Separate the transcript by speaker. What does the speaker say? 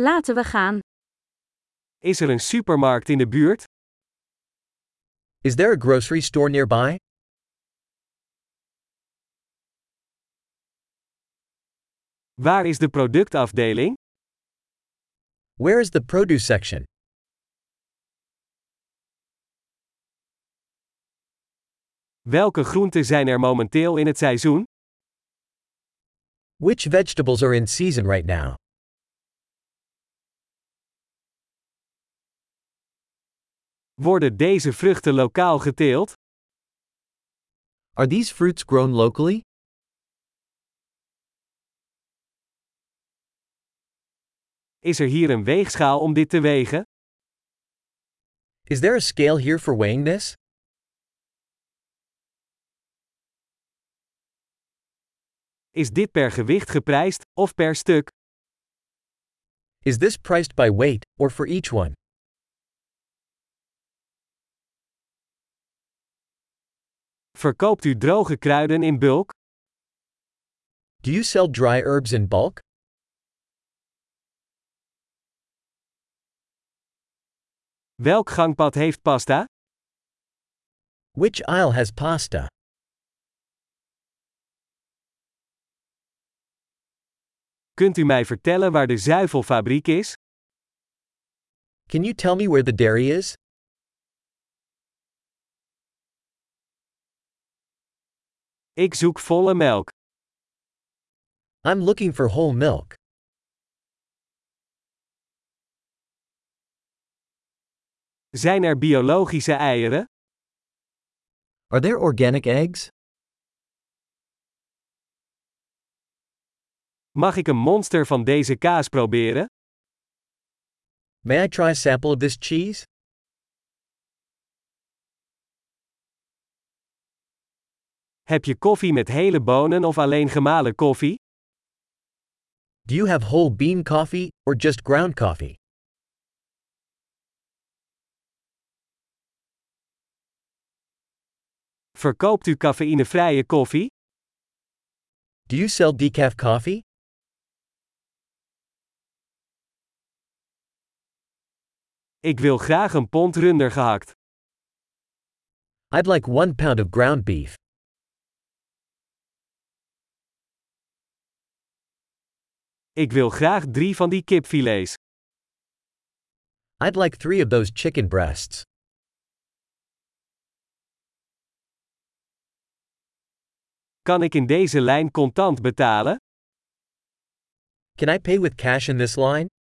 Speaker 1: Laten we gaan.
Speaker 2: Is er een supermarkt in de buurt?
Speaker 3: Is there a grocery store nearby?
Speaker 2: Waar is de productafdeling?
Speaker 3: Where is the produce section?
Speaker 2: Welke groenten zijn er momenteel in het seizoen?
Speaker 3: Which vegetables are in season right now?
Speaker 2: Worden deze vruchten lokaal geteeld?
Speaker 3: Are these fruits grown locally?
Speaker 2: Is er hier een weegschaal om dit te wegen?
Speaker 3: Is there a scale here for weighing this?
Speaker 2: Is dit per gewicht geprijsd of per stuk?
Speaker 3: Is this priced by weight, or for each one?
Speaker 2: Verkoopt u droge kruiden in bulk?
Speaker 3: Do you sell dry herbs in bulk?
Speaker 2: Welk gangpad heeft pasta?
Speaker 3: Which aisle has pasta?
Speaker 2: Kunt u mij vertellen waar de zuivelfabriek is?
Speaker 3: Can you tell me where the dairy is?
Speaker 2: Ik zoek volle melk.
Speaker 3: I'm looking for whole milk.
Speaker 2: Zijn er biologische eieren?
Speaker 3: Are there organic eggs?
Speaker 2: Mag ik een monster van deze kaas proberen?
Speaker 3: May I try a sample of this cheese?
Speaker 2: Heb je koffie met hele bonen of alleen gemalen koffie?
Speaker 3: Do you have whole bean coffee, or just ground coffee?
Speaker 2: Verkoopt u cafeïnevrije koffie?
Speaker 3: Do you sell decaf coffee?
Speaker 2: Ik wil graag een pond runder gehakt.
Speaker 3: I'd like one pound of ground beef.
Speaker 2: Ik wil graag drie van die kipfilets.
Speaker 3: I'd like three of those chicken breasts.
Speaker 2: Kan ik in deze lijn contant betalen?
Speaker 3: Can I pay with cash in this line?